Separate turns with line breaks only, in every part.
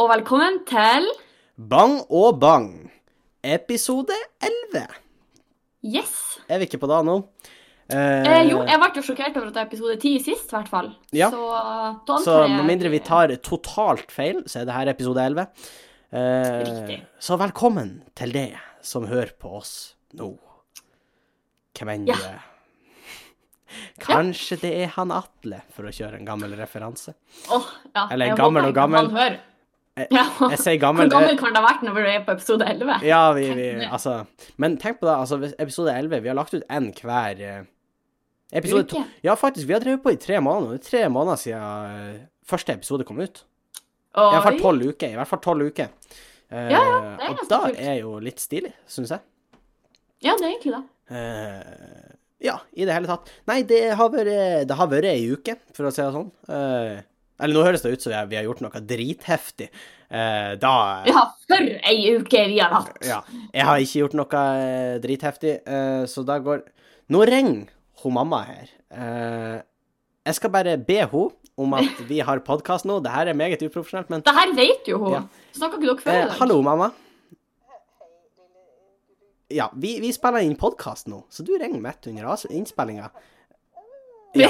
og velkommen til
Bang og bang, episode 11.
Yes.
Er vi ikke på da nå?
Eh, jo, jeg ble jo sjokkert over at det er episode 10 sist, i hvert fall.
Ja.
Så da
Så
antar jeg
med mindre vi tar totalt feil, så er det her episode 11. Eh,
Riktig.
Så velkommen til deg som hører på oss nå. Hvem enn
Ja.
du er. Kanskje det er han Atle, for å kjøre en gammel referanse.
Åh, ja.
Eller
jeg
gammel
håper
og gammel.
han hører.
Jeg-
Ja.
Jeg sier
Hvor
gammel. eh,
gammel kan det ha vært når vi er på episode 11?
Ja, vi, vi
Tenk det.
Altså Men tenk på det, altså, hvis episode 11 Vi har lagt ut en hver eh, episode. To,
Uke.
ja, faktisk. Vi har drevet på i tre måneder. Det er tre måneder siden eh, første episode kom ut. I hvert fall
Oi.
tolv uker. I hvert fall tolv uker. Eh,
Ja, ja, det er
og
ganske
da
kult.
er jo litt stilig, syns jeg.
Ja, det er egentlig det.
Eh, ja, i det hele tatt. Nei, det har vært Det har vært ei uke, for å si det sånn. Eh, eller nå høres det ut som vi har- vi har gjort noe dritheftig. Eh, da
Ja, for ei uke vi har hatt.
Ja. Jeg har ikke gjort noe eh, dritheftig, eh, så da går Nå ringer hun mamma her. Eh, Jeg skal bare be hun om at vi har podkast nå. Det her er meget uprofesjonelt, men
Det her vet jo hun.
Ja.
Snakka ikke dere før i
eh,
dag?
Hallo, mamma. Ja, vi, vi spiller inn podkast nå, så du ringer midt under innspillinga. Ja.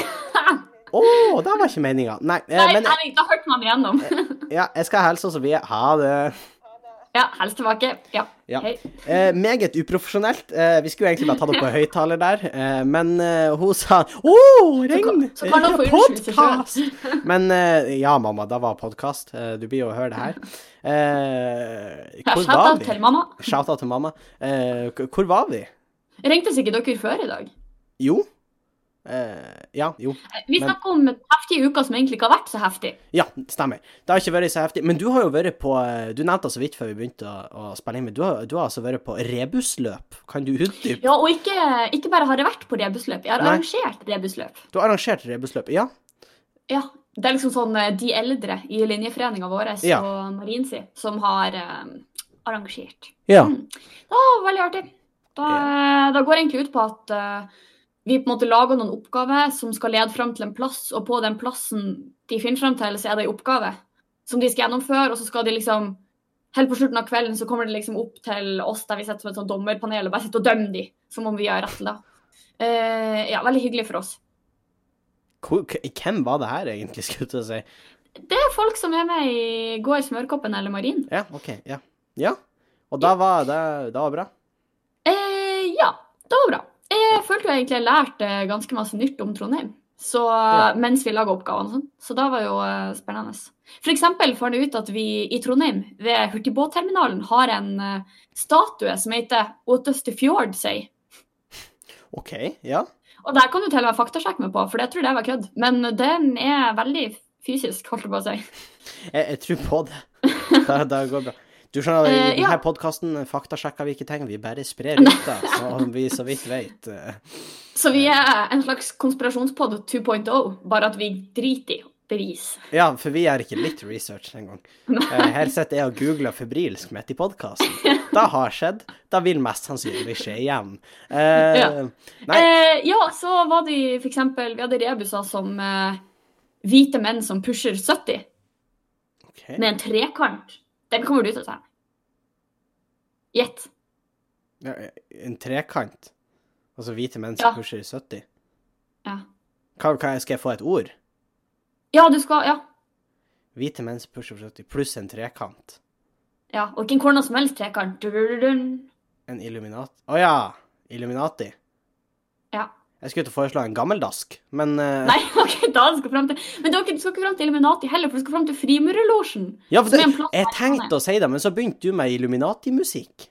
Å, det var ikke meninga. Nei, eh,
Nei,
men
Henrik, da hørte man igjennom.
ja, jeg skal hilse Sofie. Ha det.
ja, helst tilbake. Ja.
Ja.
Hei.
Eh, meget uprofesjonelt. Eh, vi skulle jo egentlig bare tatt opp på høyttaler der, eh, men eh, hun sa Å, regn!
så kan hun få unnskylde seg
Men eh, ja, mamma, da var podkast. Eh, du blir jo å høre det her. Eh,
Ja,
hvor
shout
var
out til
vi?
mamma.
Shout-out til mamma. Eh, k- hvor var vi?
Ringte ikke dere før i dag?
Jo. Eh, ja, jo.
Vi
Men-
snakker om heftige uker som egentlig ikke har vært så heftig.
Ja, stemmer. Det har ikke vært så heftig. Men du har jo vært på eh, Du nevnte det så vidt før vi begynte å, å spille inn, men du har, du har altså vært på rebusløp. Kan du utdype?
Ja, og ikke, ikke bare har jeg vært på rebusløp, jeg har
Nei.
arrangert rebusløp.
Du har arrangert rebusløp, ja?
Ja, det er liksom sånn eh, de eldre i linjeforeninga vår
Ja.
og Marin si, som har eh, arrangert.
Ja.
Det var veldig artig. Da, da går det egentlig ut på at eh, vi på en måte lager noen oppgaver som skal lede fram til en plass, og på den plassen de finner fram til, så er det en oppgave som de skal gjennomføre, og så skal de liksom Helt på slutten av kvelden så kommer det liksom opp til oss der vi sitter som et sånn dommerpanel og bare sitter og dømmer de, som om vi har rett til det. Eh, ja, veldig hyggelig for oss.
Hvor, k- hvem var det her, egentlig, skulle jeg til å si?
Det er folk som er med i Går Smørkoppen eller Marin.
Ja, OK. Ja. ja. Og da var det da var det bra?
Eh, ja, det var bra. Jeg følte jo egentlig jeg lærte eh, ganske masse nytt om Trondheim så,
Ja.
mens vi laga oppgavene og sånn. Så det var jo eh, spennende. For eksempel fant jeg ut at vi i Trondheim, ved hurtigbåtterminalen, har en eh, statue som heter Åtøste Fjord, sier.
OK, ja.
Og der kan du til og med faktasjekke meg på, for det tror jeg var kødd. Men den er veldig fysisk, holdt jeg på å si.
Jeg, jeg tror på det. Da, da går det bra. Du skjønner, i
Eh, ja.
denne podkasten faktasjekker vi ikke ting, vi bare sprer rykter, som vi så vidt vet. eh.
Så vi er en slags konspirasjonspod 2.0, bare at vi driter i bevis.
Ja, for vi gjør ikke litt research engang. Eh, Her sitter jeg og googler febrilsk midt i podkasten. Det har skjedd. Det vil mest sannsynlig skje igjen. Eh,
Ja.
Nei,
Eh, ja, så var det for eksempel, vi hadde rebuser som eh, hvite menn som pusher 70
OK.
med en trekant. Den kommer du til å ta. Gjett.
Ja, en trekant? Altså hvite menn
Ja.
som pusher i 70?
Ja.
Hva, hva, skal jeg få et ord?
Ja, du skal, ja.
Hvite menn som pusher i 70 pluss en trekant.
ja. Og ikke en hvordan som helst trekant. Dun-dun-dun.
En illuminat... Å ja! Illuminati.
Ja.
Jeg skulle til å foreslå en gammeldask, men eh,
Nei, ok, da skal du frem til. Men dere skal ikke frem til Illuminati heller, for du skal frem til Frimurelosjen.
ja, for
som
det,
er en plass
Jeg
her i
tenkte å si det, men så begynte du med Illuminati-musikk.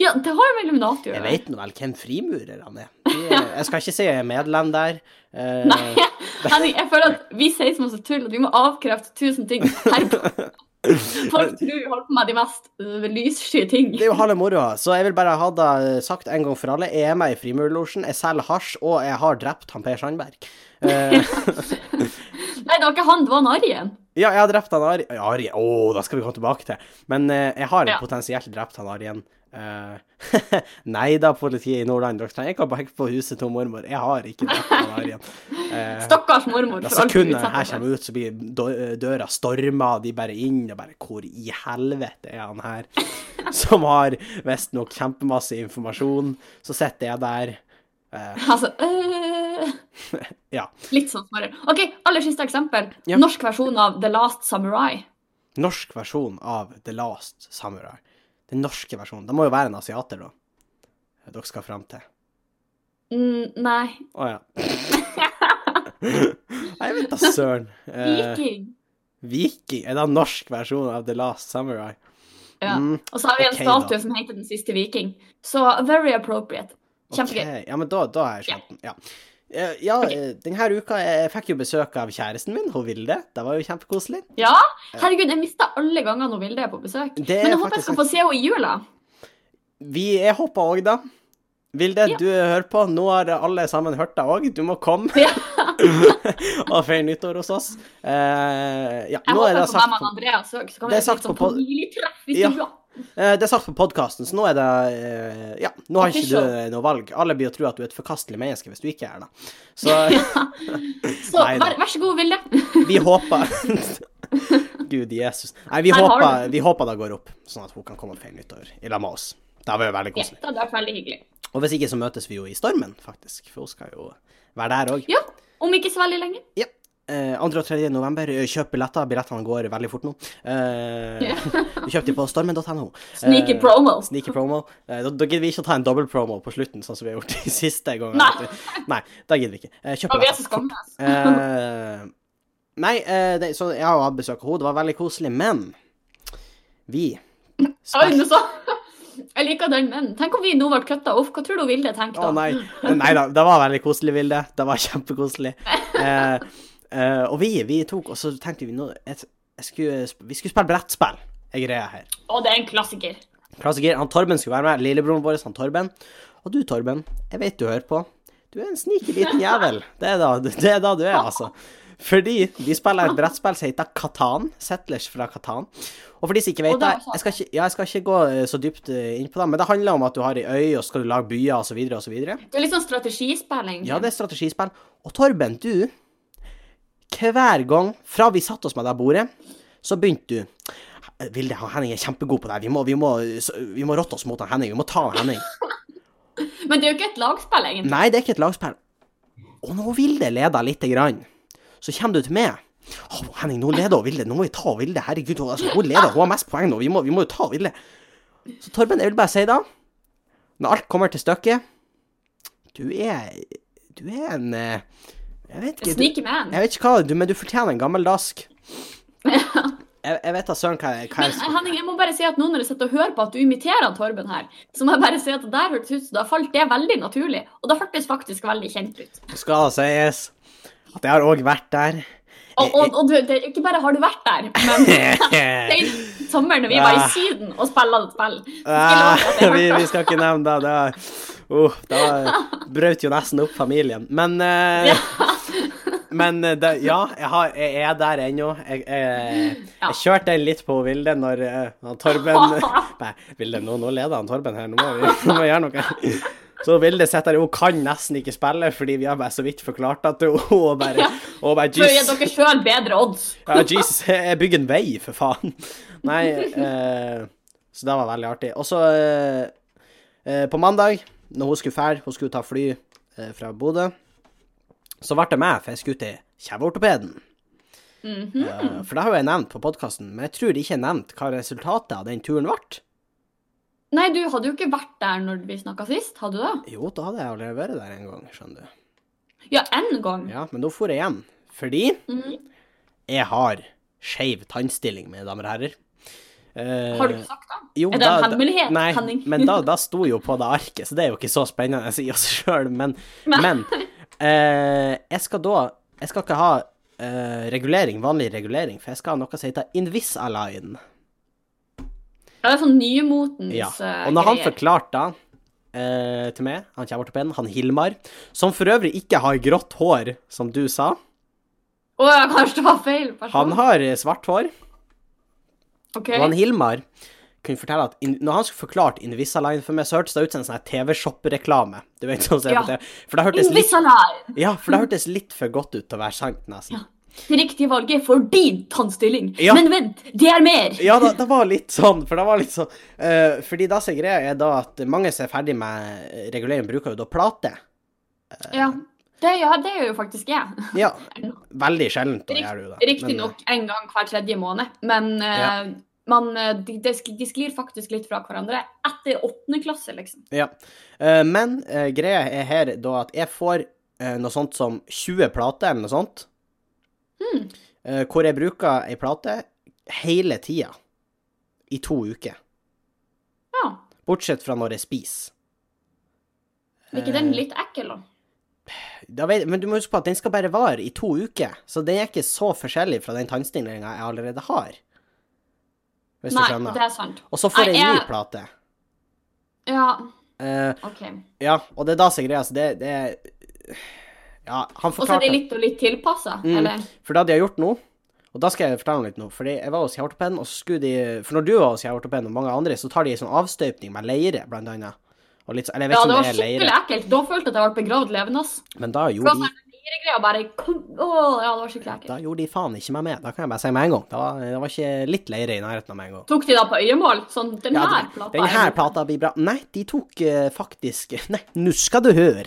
Ja, det har jo med Illuminati å
Jeg
gjøre.
vet nå vel hvem frimurerne er. De, er- jeg skal ikke si jeg er medlem der. Eh,
Nei, Henning, jeg føler at vi sier så masse tull at vi må avkrefte tusen ting. Her. Folk tror vi holder på med de mest øh, lyssky ting.
Det er jo halve moroa, så jeg vil bare ha det sagt en gang for alle. Jeg er med i Frimurlosjen, jeg selger hasj, og jeg har drept han Per Sandberg. Eh,
Nei, det var ikke han, det var han Arjen.
Ja, jeg har drept han Ari... Ari, Å, da skal vi komme tilbake til. Men eh, jeg har
Ja.
potensielt drept han Arien. Eh, nei da, politiet i Nordland, dere trenger ikke å banke på huset til mormor. Jeg har ikke drept Mariam. Uh,
Stakkars mormor.
da
for alt du
sekundet
utsetter
her
for.
kommer ut, så blir dø- døra storma, de bare inn og bare Hvor i helvete er han her? Som har visstnok kjempemasse informasjon. Så sitter jeg der. eh,
Altså, øh,
ja.
litt sånn smarrere. OK, aller siste eksempel.
Ja.
Norsk versjon av The Last Samurai.
Norsk versjon av The Last Samurai. Den norske versjonen. Det må jo være en asiater, da. Eh, Dere skal fram til.
Mm, nei.
Å ja. Nei, Jeg vet da søren. Eh,
Viking.
Viking? Er det en norsk versjon av The Last Samurai?
Ja.
Mm,
Og så har vi en
ok, da.
statue som heter Den siste viking. Så very appropriate. Kjempegøy.
ok. Ja, men da, da har jeg skjønt den. Ja. Eh, Ja,
Ok.
eh, denne uka jeg fikk jo besøk av kjæresten min, hun Vilde. Det var jo kjempekoselig.
Ja, herregud, jeg mista alle gangene Vilde er på besøk.
Det
Men jeg
er
håper jeg
faktisk
skal få se henne i jula.
Vi er hoppa òg, da. Vilde,
Ja.
du hører på. Nå har alle sammen hørt deg òg. Du må komme
Ja.
og feire nyttår hos oss. Eh, ja,
Jeg
nå er
håper jeg får
det
med
sagt
meg Andreas òg, så kan
Det
vi
er
ha
sagt
litt sånn
på pod-
familietreff i
Ja.
stua.
Eh, Det er sagt på podkasten, så nå er det eh, Ja, nå har ikke
Official.
du noe valg. Alle blir å tro at du er et forkastelig menneske hvis du ikke er det. Så
Så
Nei da.
vær, vær så god, Vilde.
vi håper Gud Jesus. Nei, vi
Her har
håper, vi håper det går opp, sånn at hun kan komme og feire nyttår i lag med oss. Det hadde vært veldig
Ja,
koselig.
det hadde vært veldig hyggelig.
Og hvis ikke, så møtes vi jo i stormen, faktisk. For hun skal jo være der òg.
Ja, om ikke så veldig lenge.
Ja. Eh, 2. og 3. november. eh, Kjøp billetter. Billettene går veldig fort nå. Eh, du kjøper de på stormen.no.
Sneaky
Eh,
promo.
Sneaky promo. Eh, Da, da gidder vi ikke å ta en dobbelt promo på slutten, sånn som vi har gjort de siste gangene.
Nei.
At vi- Nei, da gidder vi ikke. Eh, Kjøp
Og vi er
billetter
så
fort.
skamløse.
Eh, nei, eh, det, så jeg har hatt besøk av henne. Det var veldig koselig, men vi
Oi, nå så. Jeg liker den, men tenk om vi nå ble kutta off. Hva tror du Vilde tenkte
Å
da?
nei. Nei da, det var veldig koselig, Vilde. Det var kjempekoselig. Eh, eh, og vi, vi tok, og så tenkte vi nå jeg, jeg skulle, sp- Vi skulle spille brettspill, er greia her.
Å, det er en klassiker.
Klassiker. Han Torben skulle være med. Lillebroren vår, han Torben. Og du, Torben, jeg vet du hører på. Du er en sneaky liten jævel. Det er da, det er da du er, altså. Fordi vi spiller et brettspill som heter Katan. Settlers fra Katan. Og for de som ikke vet
Og det
det,
er
jeg skal ikke, ja, jeg skal ikke gå eh, så dypt eh, inn på det, men det handler om at du har ei øy, og skal du lage byer, osv., osv.
Det er litt sånn strategispill, egentlig.
Ja, det er strategispill. Og Torben, du Hver gang fra vi satte oss med det bordet, så begynte du Vilde, han Henning er kjempegod på det her. Vi må, vi må, vi må rotte oss mot han Henning. Vi må ta han Henning.
Men det er jo ikke et lagspill, egentlig.
Nei, det er ikke et lagspill. Og nå Vilde leder lite grann, så kommer du til meg. Å, Henning, nå leder hun Vilde. Nå må vi ta Vilde. Herregud, hun- altså, hun leder. Hun har mest poeng nå. Vi må, vi må jo ta Vilde. Så Torben, jeg vil bare si da, når alt kommer til stykket Du er Du er en eh, Jeg vet ikke. Du,
Sneaky man.
jeg vet ikke hva, du, men du fortjener en gammel dask. Jeg, jeg vet da søren hva, jeg- hva jeg
Men Henning, jeg må bare si at nå når jeg sitter og hører på at du imiterer han Torben her, så må jeg bare si at det der hørtes ut som det har falt det veldig naturlig. Og det hørtes faktisk veldig kjent ut.
skal sies. At jeg har òg vært der.
Og, og, og du, det, ikke bare har du vært der, men den sommeren vi var i Syden og spilte et spill
Ah,
skulle jeg love at
vi,
jeg hørte.
vi skal ikke nevne det. Det uh, da brøt jo nesten opp familien. Men eh, Men eh, det, ja, jeg, har, jeg er der ennå. Jeg, jeg,
Ja.
jeg kjørte den litt på Vilde når eh, han Torben Nei, Vilde, nå, nå leder han Torben her. Nå må vi, nå må vi gjøre noe. Så Vilde sitter der. Hun kan nesten ikke spille, fordi vi har bare så vidt forklart det til henne. Og bare,
Ja.
og bare
For å gi
Jesus,
dere sjøl bedre odds.
ja, Jesus, jeg bygger en vei, for faen. Nei, eh, så det var veldig artig. Og så eh, eh, på mandag, når hun skulle fære, hun skulle ta fly eh, fra Bodø, så ble det meg, for jeg skulle til kjeveortopeden.
Mhm.
Eh, for det har jo jeg nevnt på podkasten, men jeg tror ikke jeg nevnte hva resultatet av den turen ble.
Nei, du hadde jo ikke vært der når vi snakka sist, hadde du det?
Jo, da hadde jeg allerede vært der en gang, skjønner du.
Ja, én gang.
Ja, men da for jeg igjen. Fordi
Mhm.
jeg har skeiv tannstilling, mine damer og herrer. Eh,
Har du ikke sagt det?
Jo,
Er det en hemmelighet,
nei,
Henning?
men da, da sto jo på det arket, så det er jo ikke så spennende i oss sjøl. Men,
Nei.
men eh, jeg skal da Jeg skal ikke ha eh, regulering, vanlig regulering, for jeg skal ha noe som heter Invisalign.
Ja, det er sånn nymotens
Ja.
eh,
Og når han
greier.
forklarte eh, til meg, han kjeveortopeden, han Hilmar, som for øvrig ikke har grått hår, som du sa
Å ja, kanskje det var feil person?
Han har eh, svart hår,
OK.
og han Hilmar kunne fortelle at in, når han skulle forklart Invisalign for meg, så hørtes det ut som en sånn her TV-shop-reklame. Du vet sånn som jeg
Ja.
på TV. For det hørtes litt,
Invisalign!
ja, for det hørtes litt for godt ut til å være sant, nesten.
Mm. Ja. Det riktige valget for din tannstilling.
Ja.
Men vent, det er mer!
Ja, det, det var litt sånn, for det var litt sånn eh, Fordi da som er greia, er da at mange som er ferdig med eh, regulering, bruker jo da plate.
Ja. Det, gjør- det gjør jo faktisk jeg.
Ja, veldig sjeldent da
Rikt-
gjør du det. Men,
Riktignok en gang hver tredje måned, men eh,
Ja.
man, eh, de, de sk- de sklir faktisk litt fra hverandre etter åttende klasse, liksom.
Ja. Eh, men eh, greia er her da at jeg får eh, noe sånt som 20 plater, eller noe sånt.
Hmm.
eh, hvor jeg bruker ei plate hele tida. I to uker.
Ja.
Bortsett fra når jeg spiser.
Blir ikke
Eh.
den litt ekkel, da?
Da vet, men du må huske på at den skal bare vare i to uker, så den er ikke så forskjellig fra den tannstillinga jeg allerede har. Hvis
Nei,
du skjønner.
det er sant.
Og så får
Nei,
jeg en ny
jeg-
plate.
Ja,
Eh,
OK.
ja, og det er da som er greia, så det, det er- Ja, han
Og så er
forklarte
det litt og litt tilpassa,
Mm.
eller?
For det hadde jeg gjort nå, og da skal jeg fortelle litt nå. Fordi jeg var hos hjertepeden, og så skulle de For når du var hos hjertepeden og mange andre, så tar de sånn avstøpning med leire, blant annet. Og litt, så- eller jeg
Ja,
vet
det
ikke
var
om det er
skikkelig
leire,
ekkelt. Da følte jeg at jeg ble begravd levende. ass.
men da
Det var
gjorde de
sånn greier bare kom, å, Ja, det var skikkelig ekkelt.
da gjorde de faen ikke meg med. Da kan jeg bare si med en gang. Det var, det var ikke litt leire i nærheten av meg en gang.
Tok de da på øyemål? Sånn, den
Ja,
her
det-
plata?
den
er-
her plata blir bra. Nei, de tok eh, faktisk Nei, nå skal du høre.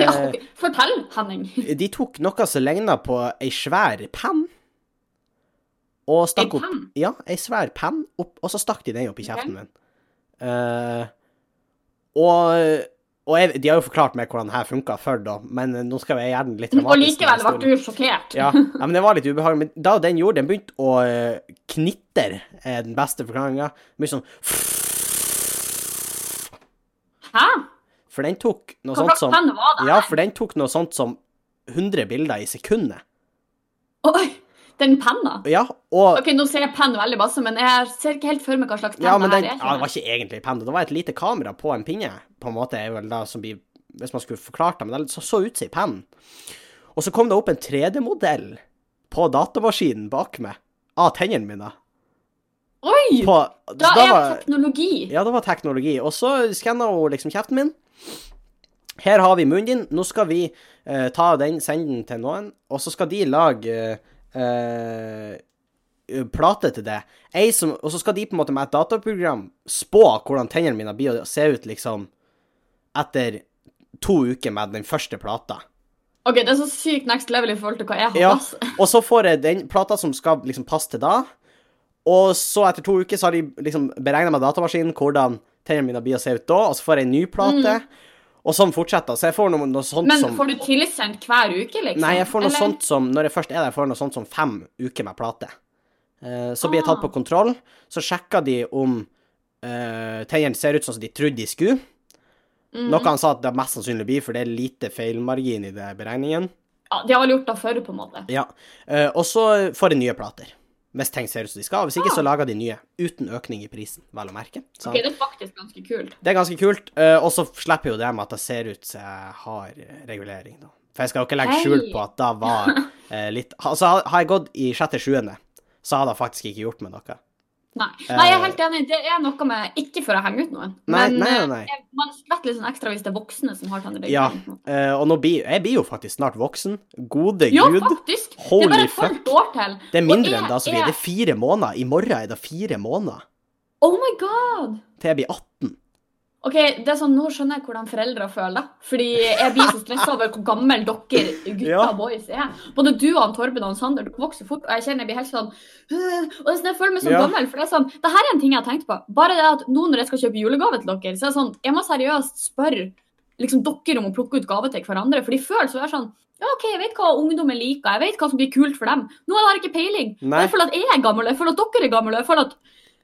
Ja, ok. Fortell, Henning.
De tok noe som ligna på ei svær penn, og stakk opp
penn?
Ja, ei svær penn, opp, og så stakk de den opp i kjeften min. Eh, og og jeg, de har jo forklart meg hvordan det her funka før, da, men nå skal jeg gjøre den litt dramatisk.
Og likevel
når
ble
jeg
du sjokkert.
står- ja, ja, men det var litt ubehagelig. Men da den gjorde den begynte å eh, knitre, er den beste forklaringa. Mye sånn
Hæ?
For den tok noe
Hva
sånt
slags
som
penn var det?
Ja, for den tok noe sånt som 100 bilder i sekundet.
Oi, den penna?
Ja, og
Ok, nå ser jeg penn veldig masse, men jeg ser ikke helt for meg hva slags penn
Ja, men den,
det her
ja, det
er.
var ikke egentlig penne. Det var et lite kamera på en pinne, på en måte, er vel det som blir Hvis man skulle forklart det, men det så, så ut som ei penn. Og så kom det opp en 3D-modell på datamaskinen bak meg av tennene mine.
Oi!
På,
Da
så da
er
var,
teknologi.
ja, det var teknologi. Og så skanna hun liksom kjeften min. Her har vi munnen din, nå skal vi eh, ta den, sende den til noen, og så skal de lage eh, eh, plate til det. Ei som, og så skal de på en måte med et dataprogram spå hvordan tennene mine blir å se ut liksom etter to uker med den første plata.
Ok, det er så sykt next level i forhold til hva jeg har.
Ja,
ass.
og så får jeg den plata som skal liksom passe til da. Og så etter to uker så har de liksom beregna med datamaskinen hvordan tennene mine blir å se ut da, og så får jeg en ny plate. Og sånn fortsetter. Så jeg får noe, noe sånt
Mm. Men
som
får du tilsendt hver uke, liksom?
Nei, jeg får noe
Eller?
sånt som Når jeg først er der, jeg får noe sånt som fem uker med plate. Eh, så blir jeg tatt
Ah.
på kontroll, så sjekker de om eh, tennene ser ut sånn som de trodde de skulle.
Mm.
Noe han sa at det mest sannsynlig blir, for det er lite feilmargin i det beregningen.
Ja, de har vel gjort det før, på en måte.
Ja. eh, og så får de nye plater. Hvis ting ser ut som de skal. Hvis ikke, så lager de nye. Uten økning i prisen, vel å merke. Så
Ah. Ok, Det er faktisk ganske kult.
det er ganske kult. eh, og så slipper jo det med at det ser ut som jeg har eh, regulering, da. For jeg skal jo ikke legge skjul
Hei.
på at da var eh, litt Altså, har- har jeg gått i sjette-sjuende, så hadde jeg faktisk ikke gjort meg noe.
Nei. nei, jeg er helt enig. Det er noe med Ikke for å henge ut noen,
Nei,
men
nei,
eh,
nei, nei.
jeg- man skvetter litt sånn ekstra hvis det er voksne som har tannregulering.
Ja. Eh, og nå blir Jeg blir jo faktisk snart voksen. Gode
Ja,
gud.
faktisk! det
Holy
er bare et halvt år til.
Det er
Og
mindre
jeg
enn det, altså.
er-
Det er fire måneder. I morgen er det fire måneder
Oh my god!
til jeg blir 18.
Ok, det er sånn, Nå skjønner jeg hvordan foreldre føler. Fordi jeg blir så stressa over hvor gammel dere gutter
Ja.
og boys er. Både du og han Torben og han Sander dere vokser fort, og jeg kjenner jeg blir helt sånn «Øh», Og det er sånn, Jeg føler meg så
Ja.
gammel. For det er sånn, det her er en ting jeg har tenkt på. Bare det at nå når jeg skal kjøpe julegave til dere, så er det sånn Jeg må seriøst spørre liksom dere om å plukke ut gave til hverandre. For de føler så er det sånn ja, OK, jeg vet hva ungdommen liker, jeg vet hva som blir kult for dem. Nå har jeg ikke peiling. Og
Nei.
Jeg føler at jeg er gammel, og jeg føler at dere er gamle, og jeg føler at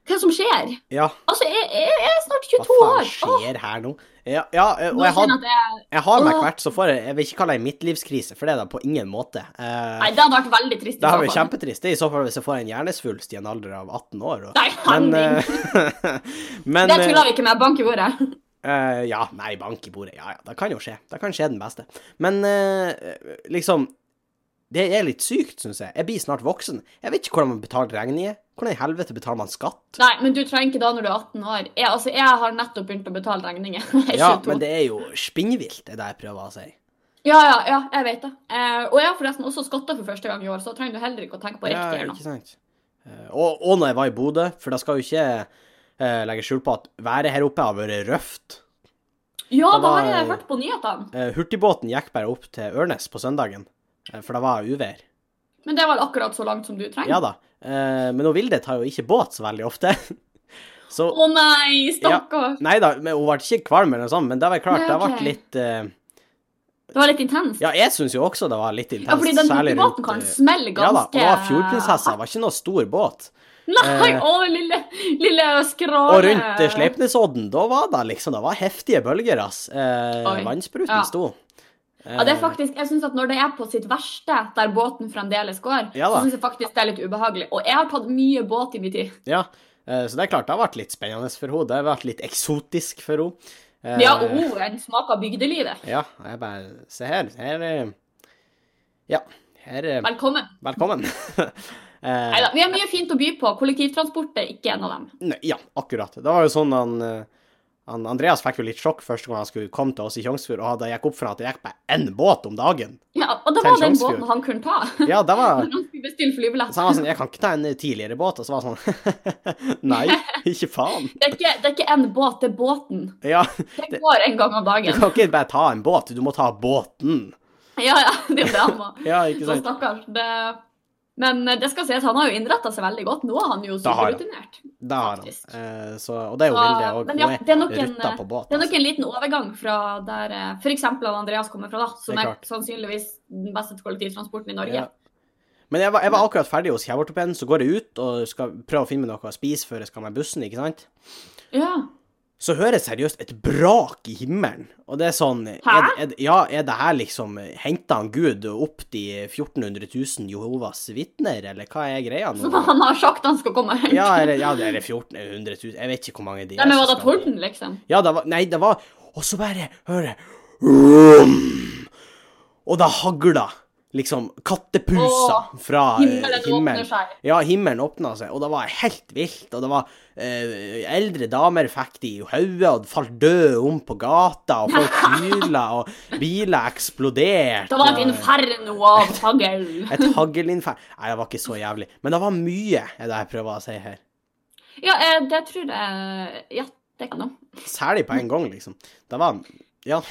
Hva som skjer?
Ja.
Altså, jeg, jeg, jeg er snart
Hva
22 år.
faen
Åh.
skjer her nå? Ja, ja eh, og
Nå
jeg hadde
kjenner jeg at jeg...
Jeg har meg
Åh.
hvert, så får jeg Jeg vil ikke kalle det en midtlivskrise, for det er det på ingen måte. Eh,
Nei, det hadde vært veldig trist. i
det
så
har vært
fall.
kjempetrist. Det er i så fall hvis jeg får en hjernesvulst i en alder av 18 år. Og,
Nei,
men
Henning,
eh, Men
det
eh,
tuller vi ikke med. Bank i bordet.
eh, Ja, nei, bank i bordet. Ja ja, det kan jo skje. Det kan skje den beste. Men eh, liksom Det er litt sykt, syns jeg. Jeg blir snart voksen. Jeg vet ikke hvordan man betaler regninger. Hvordan i helvete betaler man skatt?
Nei, men du trenger ikke da når du er 18 år. Jeg, altså, jeg har nettopp begynt å betale regninger. Jeg er
Ja,
22.
men det er jo spinnvilt, det der jeg prøver å si.
Ja, ja, ja, jeg vet det. Eh, og jeg har forresten også skatta for første gang i år, så da trenger du heller ikke å tenke på
Ja,
riktig eller noe.
ikke sant? Eh, Og, og når jeg var i Bodø, for da skal jo ikke eh, legge skjul på at været her oppe har vært røft.
Ja,
Det
da har
var-
jeg hørt på nyhetene.
Eh, hurtigbåten gikk bare opp til Ørnes på søndagen, eh, for det var uvær.
Men det er vel akkurat så langt som du trenger.
Ja da. Eh, men hun Vilde tar jo ikke båt så veldig ofte. Så
Å nei, stakkar.
Nei da, men hun ble ikke kvalm eller noe sånt, men det var
Nei,
klart, det
ok.
ble litt eh,
Det var litt intenst.
Ja, jeg syns jo også det var litt intenst.
Ja, fordi den
særlig rundt,
hurtigbåten kan
eh,
smelle
Ja da, og
ganske
det var Fjordprinsessa, det var ikke noe stor båt.
Nei,
Eh,
å, lille, lille skrale.
Og rundt eh, Sleipnesodden, da var det liksom Det var heftige bølger, ass. Eh,
Oi.
vannspruten
Ja.
sto.
Ja,
Eh,
det er faktisk, jeg synes at Når det er på sitt verste, der båten fremdeles går,
Ja da.
så syns jeg faktisk det er litt ubehagelig. Og jeg har tatt mye båt i min tid.
Ja, eh, så det er klart, det har vært litt spennende for henne. Det har vært litt eksotisk for henne. Eh,
Ja, og oh, den smaker bygdelivet.
Ja, og jeg bare Se her. Her eh, Ja. Her eh,
Velkommen.
Velkommen. Eh,
Neida, vi har mye fint å by på. Kollektivtransport er ikke en av dem.
Nei, ja, akkurat. Det var jo sånn han, eh, han Andreas fikk jo litt sjokk første gang han skulle komme til oss i Tjongsfjord, og det gikk opp for han at det gikk bare én båt om dagen.
Ja, og det
Til
var den
Tjongsfjord.
båten han kunne ta.
Ja, det var
Når han skulle bestille flybillett.
Så han var sånn Jeg kan ikke ta en tidligere båt. Og så var han sånn Nei, ikke faen.
Det er ikke, det er ikke en båt, det er båten.
Ja,
Det går en gang om
du
dagen.
kan ikke bare ta en båt, du må ta båten.
Ja, ja, det er jo det han må.
Ja, ikke
Så
sant?
stakkars. Det... Men eh, det skal sies, han har jo innretta seg veldig godt. Nå er han jo
Da har han.
superrutinert.
Det har han.
Faktisk.
Eh, så, og det er jo
Så-
Vilde òg.
men ja, det er
Hun
nok
er
en-
rutta på båt.
Det er nok
altså.
en liten overgang fra der eh, for eksempel han Andreas kommer fra, da, som
Det er
er
klart.
sannsynligvis den beste kollektivtransporten i Norge.
Ja. Men jeg var, jeg var akkurat ferdig hos kjeveortopeden, så går jeg ut og skal prøve å finne meg noe å spise før jeg skal med bussen, ikke sant?
Ja.
så hører jeg seriøst et brak i himmelen. Og det er sånn er, er, Ja, er det her liksom Henta han Gud opp de 1400 000 Jehovas vitner, eller hva er greia nå?
Som han har sagt han skal komme og hente.
Ja, eller, ja, eller 1400 000 Jeg vet ikke hvor mange de
Nei, men
som
var det
skal-
torden, liksom?
Ja, det var Nei, det var Og så bare hører jeg vroom, Og det hagla liksom kattepuser
Åh,
fra eh,
Himmelen åpner
himmelen.
seg.
Ja, himmelen åpna seg, og det var helt vilt. Og det var eh, Eldre damer fikk de i hodet og falt døde om på gata, og folk hyla, og biler eksploderte.
Det var et
og-
inferno av hagl.
Et haglinnferd Nei, det var ikke så jævlig. Men det var mye, er det jeg prøver å si her.
Ja, eh, det tror jeg Ja, det kan jeg.
Særlig på en gang, liksom. Det var Ja,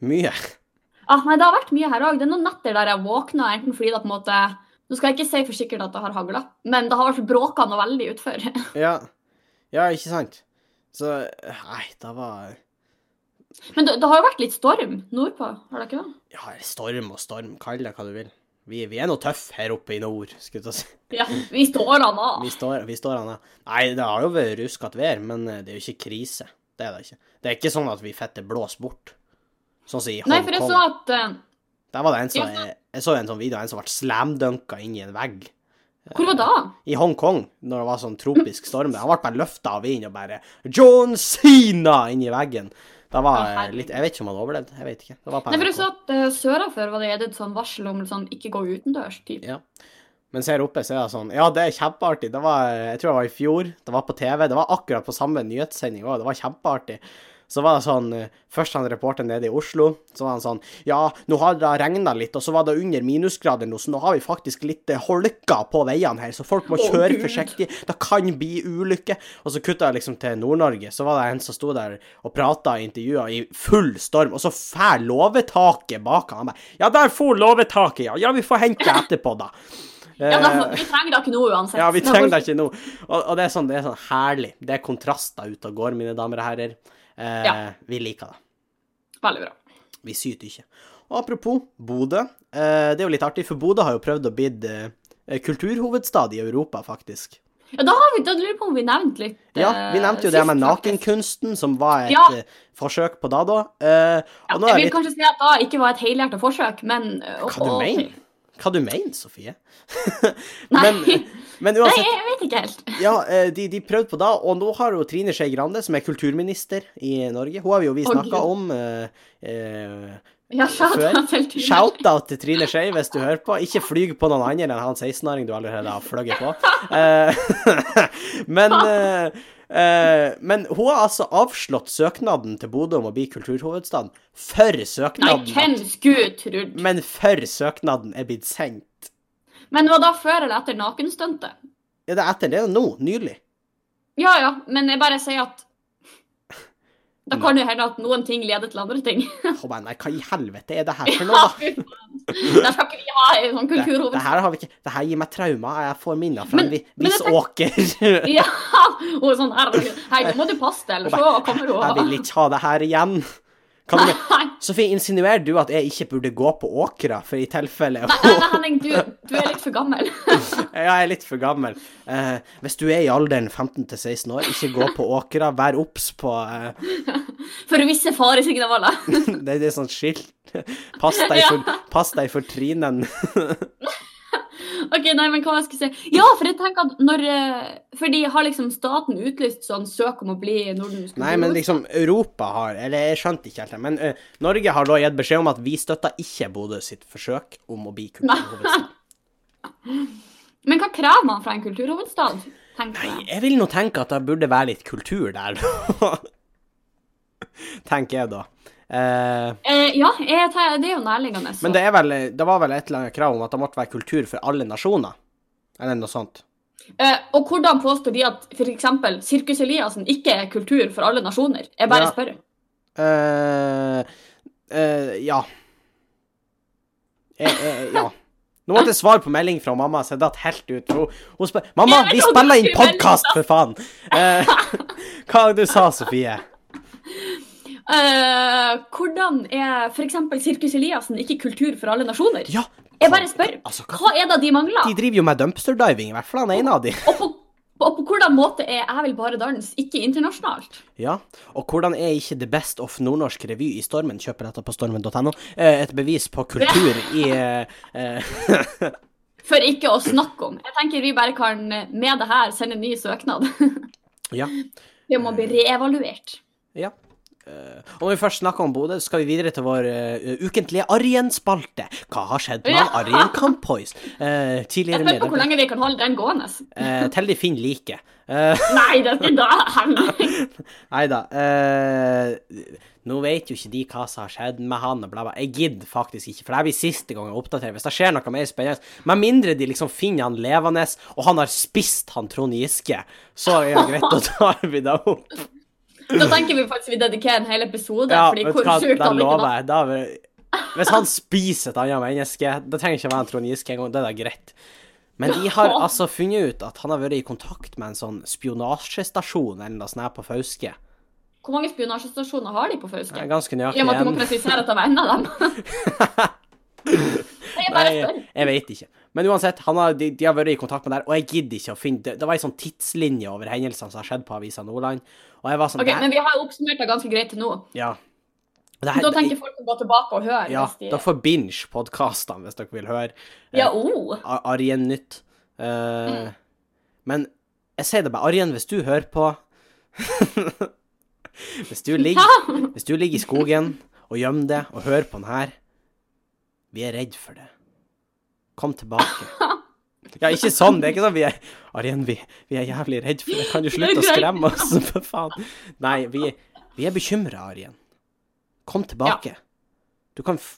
mye.
Ah, nei, det har vært mye her òg. Det er noen netter der jeg våkna enten fordi det på en måte Nå skal jeg ikke si for sikkert at det har hagla, men det har vært bråka noe veldig utfor.
Ja, ja ikke sant? Så Nei, det var
Men det, det har jo vært litt storm nordpå, har det ikke det?
Ja, storm og storm. Kall det hva du vil. Vi, vi er nå tøffe her oppe i nord, skulle jeg til å si.
Ja, vi står da nå.
Vi står, vi står an, ja. Nei, det har jo vært ruskete vær, men eh, det er jo ikke krise. Det er det ikke. Det er ikke sånn at vi fette blåser bort. Sånn som i
Nei, for jeg så
Hongkong.
at eh,
Der var det en som,
Ja, for-
jeg, jeg så en sånn video, en som ble slamdunka inn i en vegg.
Hvor var det?
I Hongkong, når det var sånn tropisk storm. der. Han ble bare løfta av vinden og bare John Sina inn i veggen. Det var
Å,
eh,
herregud.
litt Jeg vet ikke om han overlevde. Jeg vet ikke. Det var på
Nei, for jeg så
NRK.
at eh, sørafor var det gitt et sånn varsel om sånn ikke gå utendørs. Typ.
Ja. Mens her oppe så er det sånn Ja, det er kjempeartig. Det var eh, Jeg tror det var i fjor. Det var på TV. Det var akkurat på samme nyhetssending òg. Det var kjempeartig. Så var det sånn eh, Først han reporteren nede i Oslo. Så var han sånn Ja, nå har det regna litt, og så var det under minusgrader nå, så nå har vi faktisk litt eh, holker på veiene her, så folk må
Å,
kjøre
Gud.
forsiktig. Det kan bli ulykker. Og så kutta jeg liksom til Nord-Norge. Så var det en som sto der og prata i intervjuer i full storm, og så fær låvetaket bak han. Han bare Ja, der for låvetaket, ja. Ja, vi får hente det etterpå, da.
Ja, da,
Eh,
vi trenger det ikke nå uansett.
ja, vi
Det var-
trenger det ikke nå. Og, og det er sånn, det er sånn herlig. Det er kontraster ute og går, mine damer og herrer. Eh,
Ja.
Vi liker det.
Veldig bra.
Vi syter ikke. Og apropos Bodø. Eh, det er jo litt artig, for Bodø har jo prøvd å bli eh, kulturhovedstad i Europa, faktisk.
Ja, da har vi, da lurer jeg på om vi nevnte litt
Ja, vi
eh,
nevnte jo det
sist,
med
faktisk.
nakenkunsten, som var et
Ja.
eh, forsøk på da, da. Eh,
Ja,
og nå
jeg vil
er det litt
kanskje si at da ikke var et helhjertet forsøk, men eh,
Hva du
og-
mener? Hva du mener, Sofie?
Nei.
men, men
Nei,
uansett,
jeg vet ikke helt.
ja, eh, de, de prøvde på da, og nå har jo Trine Skei Grande, som er kulturminister i Norge, hun har vi jo vi
Å,
snakka
Gud.
om eh, eh,
Ja, shout-out til Trine.
Shout-out til Trine Skei hvis du hører på. Ikke flyg på noen andre enn han 16-åring du allerede har fløyet på. Eh, men eh, eh, men hun har altså avslått søknaden til Bodø om å bli kulturhovedstad. For
Nei,
søknaden
hvem skulle trodd?
Men for søknaden er blitt sendt.
Men var da før eller etter nakenstuntet?
Er det etter det nå? Nylig?
Ja ja, men jeg bare sier at Da kan det jo hende at noen ting leder til andre ting.
Å, men nei, hva i helvete er det her for noe,
Ja,
da?
fy faen. Der skal ikke vi ha en sånn
Det, det
kulturhovedstad.
her har vi ikke Det her gir meg traumer. Jeg får minner fra
Men-
en vi-
men jeg
Visåker.
Ja! Hun er sånn herregud. Hei, nå må du passe deg, ellers så kommer
Jeg
hun.
vil ikke ha det her igjen. Kan du,
Nei.
Sofie, insinuerer du at jeg ikke burde gå på åkra, for i tilfelle
Nei, nei, Henning, du, du er litt for gammel.
Jeg er litt for gammel. Eh, hvis du er i alderen 15 til 16 år, ikke gå på åkra. Vær obs på eh,
For visse faresignaler.
det, det er sånt skilt. Pass deg for, pass deg for trinen.
Ok, nei, men hva jeg skulle si? Ja, for jeg tenker at når eh, Fordi har liksom staten utlyst sånn søk om å bli Nordens kulturhus?
Nei, men liksom, Europa har Eller jeg skjønte ikke helt det, men eh, Norge har da gitt beskjed om at vi støtter ikke Bodø sitt forsøk om å bli kulturhovedstad.
Men hva krever man fra en kulturhovedstad? Tenker jeg.
Jeg vil nå tenke at det burde være litt kultur der. Tenker jeg da. Eh,
Eh, ja, jeg, te- det er jo nærliggende. så-
men det, er vel, det var vel et eller annet krav om at det måtte være kultur for alle nasjoner? Eller noe sånt.
Eh, og hvordan påstår de at f.eks. Sirkus Eliassen ikke er kultur for alle nasjoner? Jeg bare
Ja.
spør.
eh eh, ja. Eh, eh, ja. Nå måtte jeg svare på melding fra mamma, så jeg datt helt ut. for Hun, hun spør Mamma,
Jeg vet
vi
ikke om
spiller
du
inn
skulle
podkast, for faen! Eh, hva var det du sa Sofie?
Eh, hvordan er f.eks. Sirkus Eliassen ikke kultur for alle nasjoner?
Ja,
Jeg bare spør.
altså, hva,
Hva er det de mangler?
de driver jo med dumpsterdiving, i hvert fall han ene av de.
Og på, og på hvordan måte er Jeg vil bare danse ikke internasjonalt?
Ja, og hvordan er ikke The Best of Nordnorsk revy i Stormen? Kjøper dette på stormen.no. Eh, Et bevis på kultur i eh, eh,
For ikke å snakke om. Jeg tenker vi bare kan med det her sende en ny søknad.
Ja.
Det må bli reevaluert.
ja. Eh, Om vi først snakker om Bodø, så skal vi videre til vår eh, ukentlige Arjen-spalte. Hva har skjedd med
Ja.
han Arjen Kampois? Eh,
Jeg
tidligere
spør på hvor
medlem
lenge vi kan holde den gående.
eh, Til de finner liket. Eh,
Nei, det er ikke da, Henning.
Nei da. Eh, nå vet jo ikke de hva som har skjedd med han og bla, bla. Jeg gidder faktisk ikke, for det her blir siste gang jeg oppdaterer. Hvis det skjer noe mer spennende, med mindre de liksom finner han levende, og han har spist han Trond Giske, så er det greit å ta vi da opp.
Da tenker vi faktisk vi dedikerer en hel episode.
Ja,
fordi
vet du
hvor
hva,
sjukt
da
han ikke
lover
var.
jeg. Da, vil- hvis han spiser et annet menneske, det trenger ikke være en Trond Giske engang, det er da greit. Men de har altså funnet ut at han har vært i kontakt med en sånn spionasjestasjon eller noe sånt her på Fauske.
Hvor mange spionasjestasjoner har de på
Det er
Fauske?
Ganske
I og
nøyaktig
med at du
en.
må presisere at det var en av dem. Nei, Jeg bare
Nei,
spør.
jeg, jeg vet ikke. Men uansett, han har, de, de har vært i kontakt med der, og jeg gidder ikke å finne Det, det var ei sånn tidslinje over hendelsene som har skjedd på Avisa Nordland, og jeg var sånn
Ok,
det her-
Men vi har jo oppsummert det ganske greit til nå.
Ja. Det her-
Da tenker folk å gå tilbake og høre.
ja,
hvis de...
da får binge podkastene, hvis dere vil høre
Ja, oh.
Ar- Arjen Nytt. Eh,
Mm.
Men jeg sier det bare, Arjen, hvis du hører på hvis, du ligger, hvis du ligger i skogen og gjemmer deg og hører på den her Vi er redd for det. Kom tilbake. Ja, ikke sånn. Det er ikke sånn vi er Arjen, vi, vi er jævlig redd for det. Kan du slutte å skremme oss, for faen? Nei, vi, vi er bekymra, Arjen. Kom tilbake. Du kan f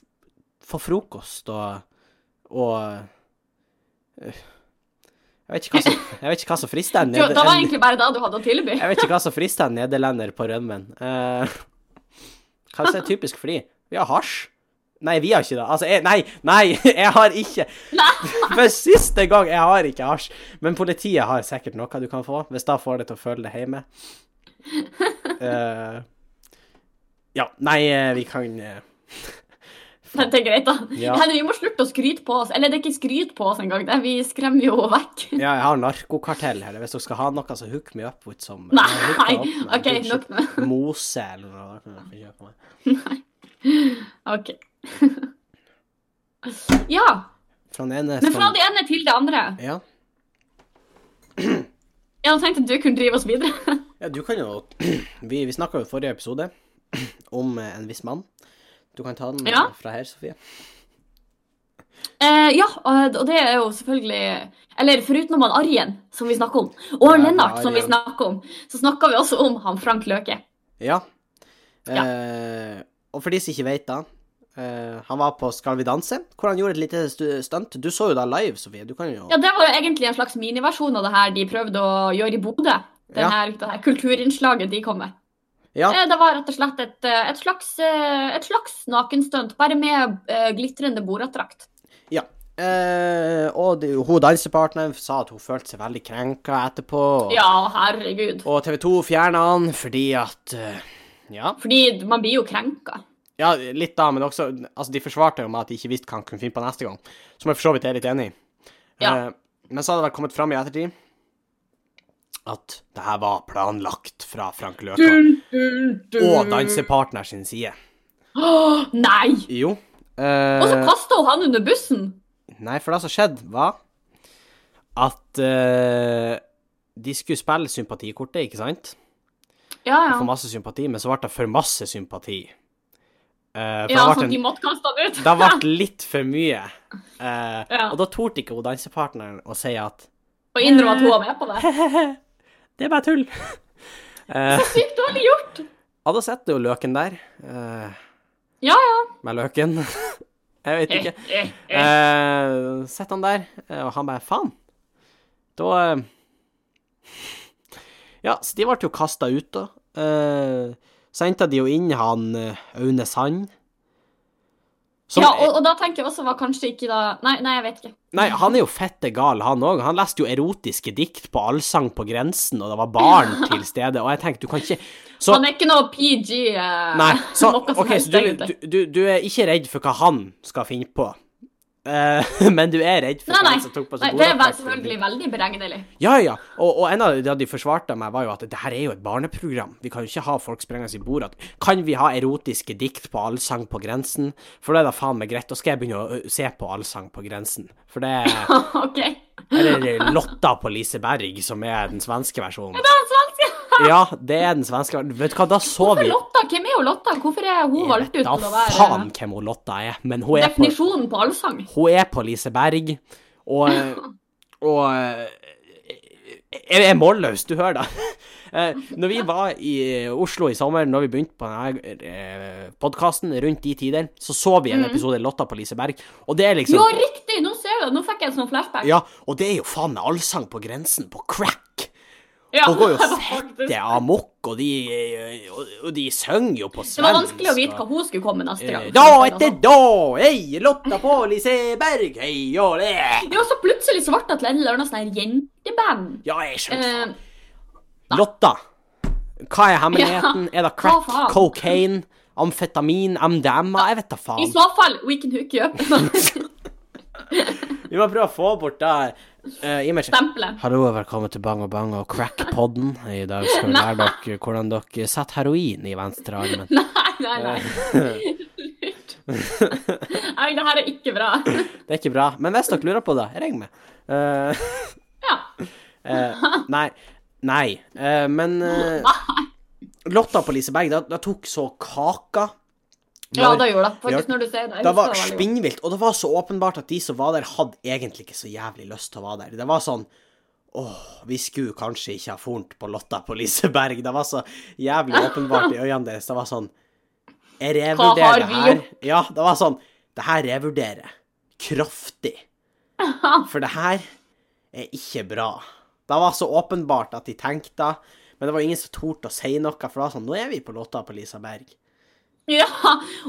få frokost og og øh, jeg vet, ikke hva som, jeg vet ikke hva som frister en,
Jo, det var
neder- en
egentlig bare det du hadde å tilby.
Jeg vet ikke hva som frister en nederlender på rømmen. Eh, hva som er typisk for de? Vi har hasj. Nei, vi har ikke det. Altså, jeg, nei, nei, jeg har ikke For siste gang, jeg har ikke hasj. Men politiet har sikkert noe du kan få, hvis da får det til å føle det hjemme. Eh, ja, nei, eh, vi kan eh,
Det er greit, da.
Ja.
Henry, vi må slutte å skryte på oss. Eller det er ikke skryt på oss engang. det er- Vi skremmer jo vekk.
Ja, jeg har narkokartell her. Hvis dere skal ha noe, så hook me up with some
Nei,
eh, Hook meg opp med
ok,
bullshit.
nok med
Mose eller noe. kan dere kjøpe meg.
OK. Ja.
Fra den ene
Men fra
som
det ene til det andre.
ja.
Jeg hadde tenkt at du kunne drive oss videre.
ja, du kan jo Vi, vi snakka jo i forrige episode om eh, en viss mann. Du kan ta den eh,
Ja.
fra her, Sofie.
Eh, ja, og og det er jo selvfølgelig Eller foruten om han Arjen, som vi snakker om, og
Ja,
Lennart, som vi
Arjen.
snakker om, så snakker vi også om han Frank Løke.
Ja. Eh, og for de som ikke vet da, eh, han var på Skal vi danse, hvor han gjorde et lite stu- stunt. Du så jo da live, Sofie. Du kan jo
Ja, Det var jo egentlig en slags miniversjon av det her de prøvde å gjøre i Bodø. Den
Ja.
her, det her kulturinnslaget de kom med.
Ja.
Eh, Det var rett og slett et, eh, et slags, eh, et slags nakenstunt, bare med eh, glitrende boratdrakt.
Eh, og det, hun dansepartneren sa at hun følte seg veldig krenka etterpå. Og,
Ja, herregud.
og TV 2 fjerna han fordi at eh, ja,
Fordi man blir jo krenka.
ja, litt da, men også Altså, de forsvarte jo med at de ikke visste hva han kunne finne på neste gang, som jeg for så vidt er litt enig i.
Ja.
Eh, men så hadde det vel kommet fram i ettertid at det her var planlagt fra Frank Løka og dansepartner sin side.
Åh, Nei!
Jo.
Og så
Eh,
kasta hun han under bussen.
nei, for det som skjedde, var at eh, de skulle spille sympatikortet, ikke sant?
Ja,
Og
ja.
Få masse sympati, men så ble det for masse sympati. Eh,
Ja,
for det ble
sånn at de
en,
måtte kaste han ut.
det ble litt for mye. Eh,
Ja.
Og da torde ikke hun dansepartneren å si at
Og innrømme at hun var med på det.
Det er bare tull. Eh,
Sykt dårlig gjort.
ja, da setter jo løken der. eh,
Ja, ja.
med løken. Jeg vet ikke.
Eh, eh, eh.
Eh, sett han der, eh, og han bare faen. Da eh, Ja, så de ble jo kasta ut, da. Eh, så henta de jo inn han eh, Aune Sand. Som,
Ja, og, og da tenker jeg også var kanskje ikke da Nei, nei, jeg vet ikke.
Nei, han er jo fette gal, han òg. Han leste jo erotiske dikt på Allsang på grensen, og det var barn til stede, og jeg tenkte, du kan ikke Så
Han er ikke noe PG. Eh,
Nei, så,
noe som
ok,
helst,
så du,
egentlig.
du, du, du er ikke redd for hva han skal finne på, Eh, men du er redd for
Nei,
hva
nei.
han som tok på
nei
seg
det er vel
bordattrakten.
selvfølgelig veldig beregnelig.
Ja, ja. Og, og en av det de forsvarte meg, var jo at det her er jo et barneprogram. Vi kan jo ikke ha folk sprengende i bordet. Kan vi ha erotiske dikt på Allsang på grensen? For da er det faen meg greit. Da skal jeg begynne å ø, se på Allsang på grensen. For det er
OK.
Eller Lotta på Liseberg, som er den svenske versjonen.
Det er svenske.
Ja, det er den svenske versjonen. Vet du hva, da så
Hvorfor
vi
Lotta? Hvem er jo Lotta? Hvorfor er hun valgt ut til
Da
å være
faen hvem hun Lotta er. Men hun er på,
definisjonen på allsang?
hun er på Liseberg, og, og jeg er målløs, du hører da. Eh, Når vi var i Oslo i sommer, når vi begynte på denne podkasten rundt de tider, så så vi en
Mhm.
episode Lotta på Liseberg, og det er liksom
Ja, riktig! Nå ser jeg det. Nå fikk jeg en sånn flashback.
Ja, og det er jo faen meg allsang på grensen på crack.
Ja,
Hun går jo
det var faktisk-
fette amok, og de, og de synger jo på svensk.
Det var vanskelig å vite
og-
hva hun skulle komme med neste gang. altså.
Eh, Da etter da, hei, Lotta på Liseberg, hei og det.
Ja, så plutselig så ble det til en eller annen sånn her jenteband.
Ja, jeg skjønner.
Eh,
Lotta, hva er hemmeligheten? Er det crack,
hva faen?
cocaine, amfetamin, MDMA? Jeg vet da
I
faen.
så fall, we can hook you up.
Vi må prøve å få bort det uh, imaget.
Stempelet.
Hallo og velkommen til Bang og Bang og Crack-podden. I dag skal vi lære dere hvordan dere setter heroin i venstre armen.
Nei, nei, nei. Lurt. Nei, det her er ikke bra.
Det er ikke bra. Men hvis dere lurer på det, ring meg. Eh,
Ja.
eh, nei. Nei. Eh, men eh, Lotta på Liseberg, da, da tok så kaka.
ja,
Når-
det gjorde det. Faktisk,
Ja,
når du sier det. Jeg
Det
husker det
var
veldig godt.
spinnvilt, og det var så åpenbart at de som var der, hadde egentlig ikke så jævlig lyst til å være der. Det var sånn Åh, vi skulle kanskje ikke ha fornt på Lotta på Liseberg. Det var så jævlig åpenbart i øynene deres. Det var sånn Jeg
Hva har
revurderer
vi
her. Ja, det var sånn Det her revurderer jeg. Kraftig. For det her er ikke bra. Det var så åpenbart at de tenkte det, men det var ingen som torde å si noe, for det var sånn Nå er vi på Lotta på Liseberg.
Ja,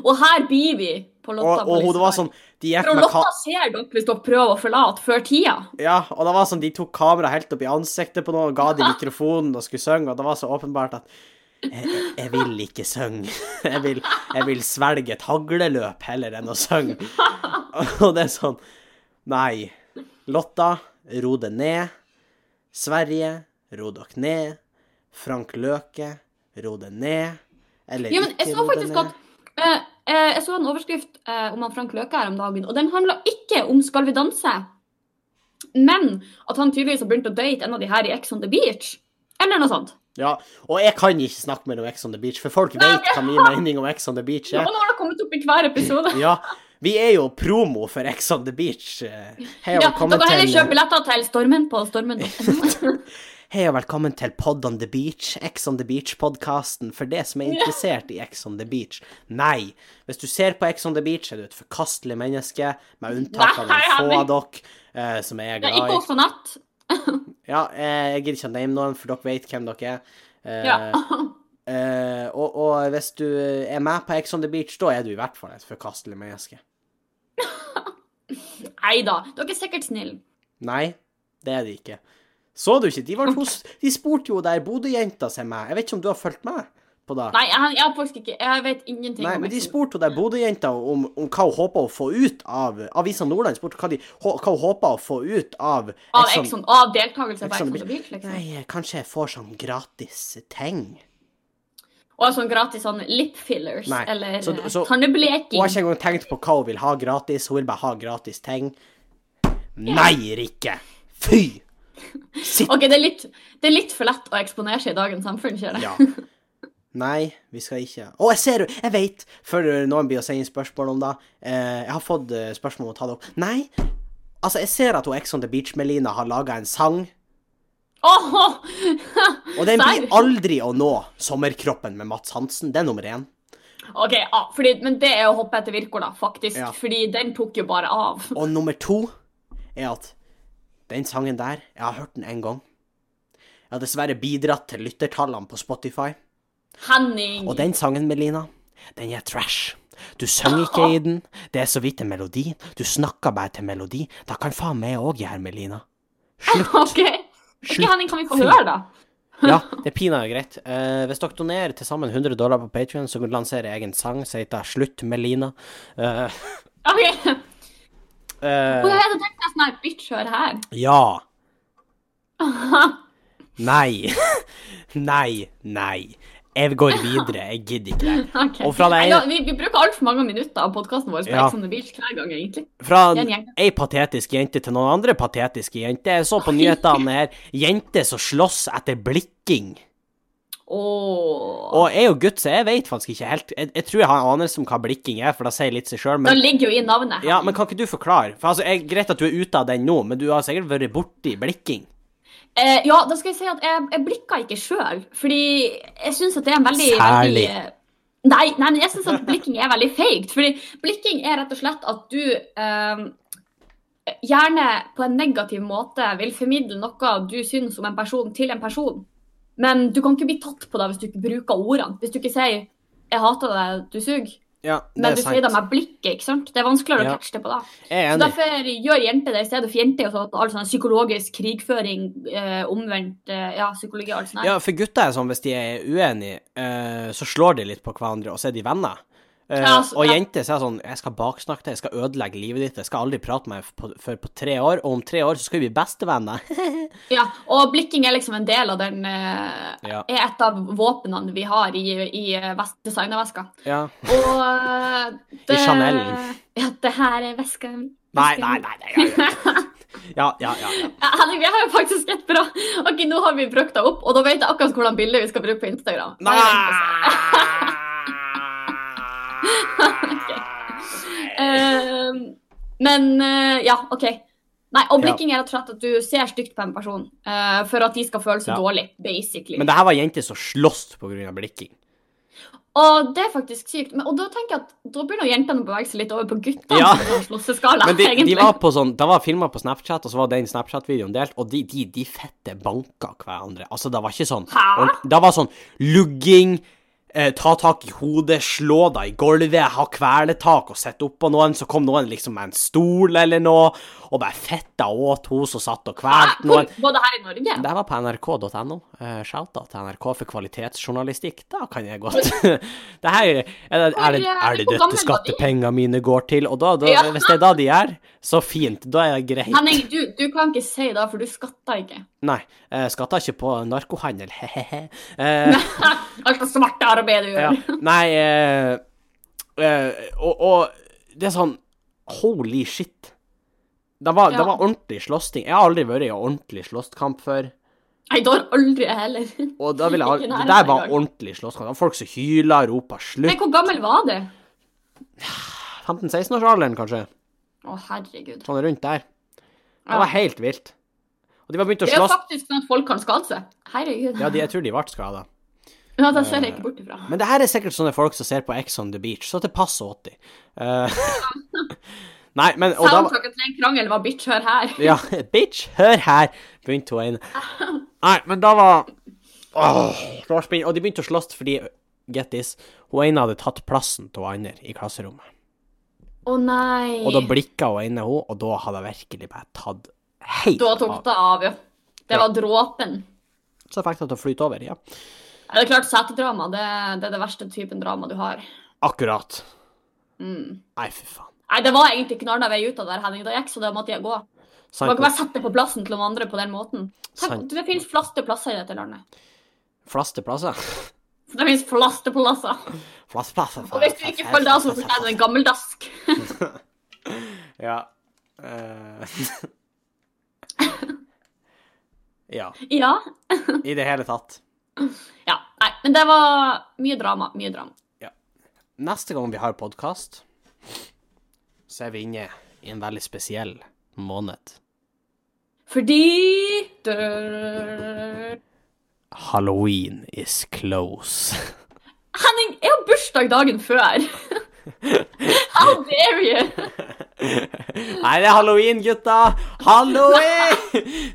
og her blir vi på Lotta.
Og, og hun- det var sånn De gikk
For
med ka
Lotta ser dere hvis dere prøver å forlate før tida.
Ja, og det var sånn, de tok kameraet helt opp i ansiktet på noen, ga de mikrofonen og skulle synge, og det var så åpenbart at jeg, jeg- jeg vil ikke synge. Jeg vil, jeg vil svelge et hagleløp heller enn å synge. Og det er sånn Nei. Lotta, ro det ned. Sverige, ro dere ned. Frank Løke, ro det ned. Eller
Ja, men jeg
ikke
så
ro det
faktisk
ned.
at eh, Eh, jeg så en overskrift eh, om han Frank Løke her om dagen, og den handla ikke om Skal vi danse, men at han tydeligvis har begynt å date en av de her i Ex on the Beach, eller noe sånt.
Ja, og jeg kan ikke snakke mer om Ex on the Beach, for folk vet hva min mening om Ex on the Beach
Og
er.
nå har det kommet opp i hver episode.
Ja, vi er jo promo for Ex on the Beach. eh. Hei og
Ja,
velkommen
dere kan heller kjøpe
til
billetter til Stormen på stormen.no.
Hei og velkommen til Pod on the Beach, Ex on the Beach-podkasten, for det som er interessert i Ex on the Beach. Nei, hvis du ser på Ex on the Beach, er du et forkastelig menneske, med unntak av
Nei,
noen få
Henning.
av dere eh, som jeg er
Det er
glad
ikke
i.
også natt.
Ja, eh, jeg gidder ikke å name noen, for dere vet hvem dere er. Eh,
Ja.
eh, og, og hvis du er med på Ex on the Beach, da er du i hvert fall et forkastelig menneske.
Nei da, dere er sikkert snille.
Nei, det er de ikke. Så du ikke? De, var to, s- de spurte jo der Bodø-jenta seg med. Jeg vet ikke om du har fulgt med på det?
Nei, jeg, jeg, har faktisk ikke, jeg vet ingenting
Nei,
om
men de
Mexico.
spurte jo der Bodø-jenta om, om hva hun håpa å få ut av Avisa Nordland spurte hva, de, hå- hva hun håpa å få ut av
Av
Ex on-
Exxon, av deltakelse på
Ex on
Exxon
the
the Beach, liksom.
Nei, eh, kanskje jeg får sånn gratis ting.
Og sånn gratis sånn lip fillers,
Nei,
eller
så-
eh,
så- Hun
tannebleking.
har ikke engang tenkt på hva hun vil ha gratis. Hun vil bare ha gratis ting. Nei, Rikke! Fy! Sitt
Ok, det er, litt, det er litt for lett å eksponere seg i dagens samfunn, kjører jeg.
Ja. Nei, vi skal ikke Å, jeg ser jo! Jeg vet! Før noen blir å sende inn spørsmål om det. Eh, jeg har fått eh, spørsmål om å ta det opp. Nei! Altså, jeg ser at hun Ex on the Beach-Melina har laga en sang,
Åhå!
og den blir
Serr?
aldri å nå. 'Sommerkroppen' med Mats Hansen. Det er nummer én.
Ok, ja, fordi, men det er å hoppe etter Virkola, faktisk.
Ja.
Fordi den tok jo bare av.
Og nummer to er at den sangen der, jeg har hørt den én gang. Jeg har dessverre bidratt til lyttertallene på Spotify.
Henning!
Og den sangen, Melina, den er trash. Du synger ikke i den, det er så vidt en melodi. Du snakker bare til melodi. Da kan faen meg òg gjøre, Melina. Slutt.
Ok, ok,
Slutt.
Henning, kan vi få høre, da?
Ja, det er pinadø greit. Eh, hvis dere donerer til sammen 100 dollar på Patrion, så lanserer jeg en sang som heter 'Slutt, Melina'. Eh,
Ok,
eh,
Og jeg hadde tenkt nesten her, bitch, hør her.
Ja. Nei. Nei. Nei. Jeg går videre. Jeg gidder ikke det.
Ok.
Og fra det
Nei,
ene-
da, vi, vi bruker altfor mange minutter av podkasten vår på
Ja.
Ex on the Beach hver gang, egentlig.
Fra
Det er en gjeng.
ei patetisk jente til noen andre patetiske jenter. Jeg så på nyhetene her jenter som slåss etter blikking.
Åh.
Og jeg er jo gutt, så jeg vet faktisk ikke helt Jeg, jeg tror jeg har en anelse om hva blikking er, for det sier litt seg sjøl,
Da
men
ligger jo i navnet.
ja, men kan ikke du forklare? For altså, jeg, Greit at du er ute av den nå, men du har sikkert vært borti blikking.
Eh, ja, da skal jeg si at jeg, jeg blikka ikke sjøl, fordi jeg syns at det er en veldig
Særlig.
veldig, eh, Nei, nei, men jeg syns at blikking er veldig feigt. Fordi blikking er rett og slett at du eh, gjerne på en negativ måte vil formidle noe du syns om en person, til en person. Men du kan ikke bli tatt på det hvis du ikke bruker ordene. Hvis du ikke sier 'jeg hater deg, du suger',
Ja, det
men
er
du sier det
sant.
med blikket. ikke sant? Det er vanskeligere
Ja.
å catche det på da.
Jeg er
Så
enig.
Derfor gjør jenter det i stedet for jenter. Og sånn, alt sånn psykologisk krigføring, eh, omvendt eh, ja, psykologi og alt sånt. der.
Ja, for gutter er sånn, hvis de er uenige, eh, så slår de litt på hverandre, og så er de venner. Eh,
Ja, altså,
og
ja.
jenter sier sånn Jeg skal baksnakke deg, jeg skal ødelegge livet ditt, jeg skal aldri prate med deg på- før på tre år, og om tre år så skal vi bli bestevenner.
Ja, og blikking er liksom en del av den eh,
Ja.
Er et av våpnene vi har i, i eh, vest- designerveska.
Ja.
Og eh, det,
Chanel.
Ja, det her er veska mi.
Nei, nei, nei. nei, nei, nei. Ja, ja, ja. ja.
Ja, Henning, vi har jo faktisk et bra Ok, nå har vi brukt det opp, og da vet jeg akkurat hvordan bilde vi skal bruke på Instagram. Nei, vent, altså. Eh, men eh, ja, OK. Nei, og blikking er rett og slett at du ser stygt på en person eh, for at de skal føle seg
Ja.
dårlig, basically.
Men det her var jenter som slåss på grunn av blikking.
Og det er faktisk sykt. Men, og da tenker jeg at da begynner jentene å bevege seg litt over på guttene.
Ja.
på slåsseskala,
Men de, de
egentlig.
var på sånn, det var filma på Snapchat, og så var den Snapchat-videoen delt, og de, de, de fette banka hverandre. Altså, det var ikke sånn
Hæ?
ordent- Det var sånn lugging, eh, ta tak i hodet, slå deg i gulvet, ha kvelertak og sette oppå noen. Så kom noen liksom med en stol eller noe, og bare fetta åt hun som satt og
Hæ?
kvelte
Hvor
noen.
var det her i Norge?
Det var på nrk.no. Eh, Shouta til NRK for kvalitetsjournalistikk. Da kan jeg godt Det her er, er, er, det- er
Hvor gammel
det
var de?
dette skattepengene mine går til? Og da, da,
Ja.
hvis det er da de er, så fint. Da er det greit.
Henning, du, du kan ikke si det, for du skatter ikke.
Nei, jeg skatter ikke på narkohandel, he-he-he. Eh,
Alt det svarte arbeidet du
ja.
gjør.
Nei, eh, Eh, og, og det er sånn Holy shit. Det var, det
Ja.
var ordentlig slåssting. Jeg har aldri vært i en ordentlig slåsskamp før.
Nei, det har aldri jeg heller.
Og da vil jeg,
Ikke
al-
nær
det der var
engang.
ordentlig slåsskamp. Det var folk som hyla, ropa
Men
'slutt'.
hvor gammel var du?
15-16-årsalderen, kanskje.
Å, herregud.
Sånn rundt der. Det
Ja.
var helt vilt. Og de var begynt å
Det er jo
slåss.
faktisk sånn at folk kan skade seg. Herregud.
Ja, de, jeg tror de ble skada.
Ja, det ser jeg ikke bort ifra.
Men det her er sikkert sånne folk som ser på Ex on the Beach, så det passer 80. Eh, nei, men og da,
Soundtracket til en krangel var bitch, hør her.
Ja, bitch, hør her, begynte hun inn. Nei, men da var Åh, det var spinn- Og de begynte å slåss fordi, get this, hun ene hadde tatt plassen til hun andre i klasserommet.
Å nei.
Og da blikka hun ene hun, og da hadde hun virkelig bare tatt helt
Da tok
av.
det av, ja. Det
Ja.
var dråpen.
Så fikk hun til å flyte over, ja.
Ja, Det er klart, setedrama det, det er det verste typen drama du har.
Akkurat.
Mm.
Nei, fy faen.
Nei, det var egentlig ikke noen annen vei ut av det her, Henning. Da gikk så det måtte jeg gå. Du
Sant,
kan ikke bare sette på plassen til noen andre på den måten. Tenk,
Sant.
det finnes flaste plasser i dette landet.
Flaste plasser.
Det finnes flaste plasser.
Flastplasser.
Og hvis du ikke følger det, så fortjener du en gammeldask.
Ja. Eh, ja.
Ja.
I det hele tatt.
ja. Nei, men det var mye drama. Mye drama.
Neste gang vi har podkast, så er vi inne i en veldig spesiell måned.
Fordi Dør.
Halloween is close.
Henning, jeg har bursdag dagen før. How dare you?
Nei, det er halloween, gutta! Halloween!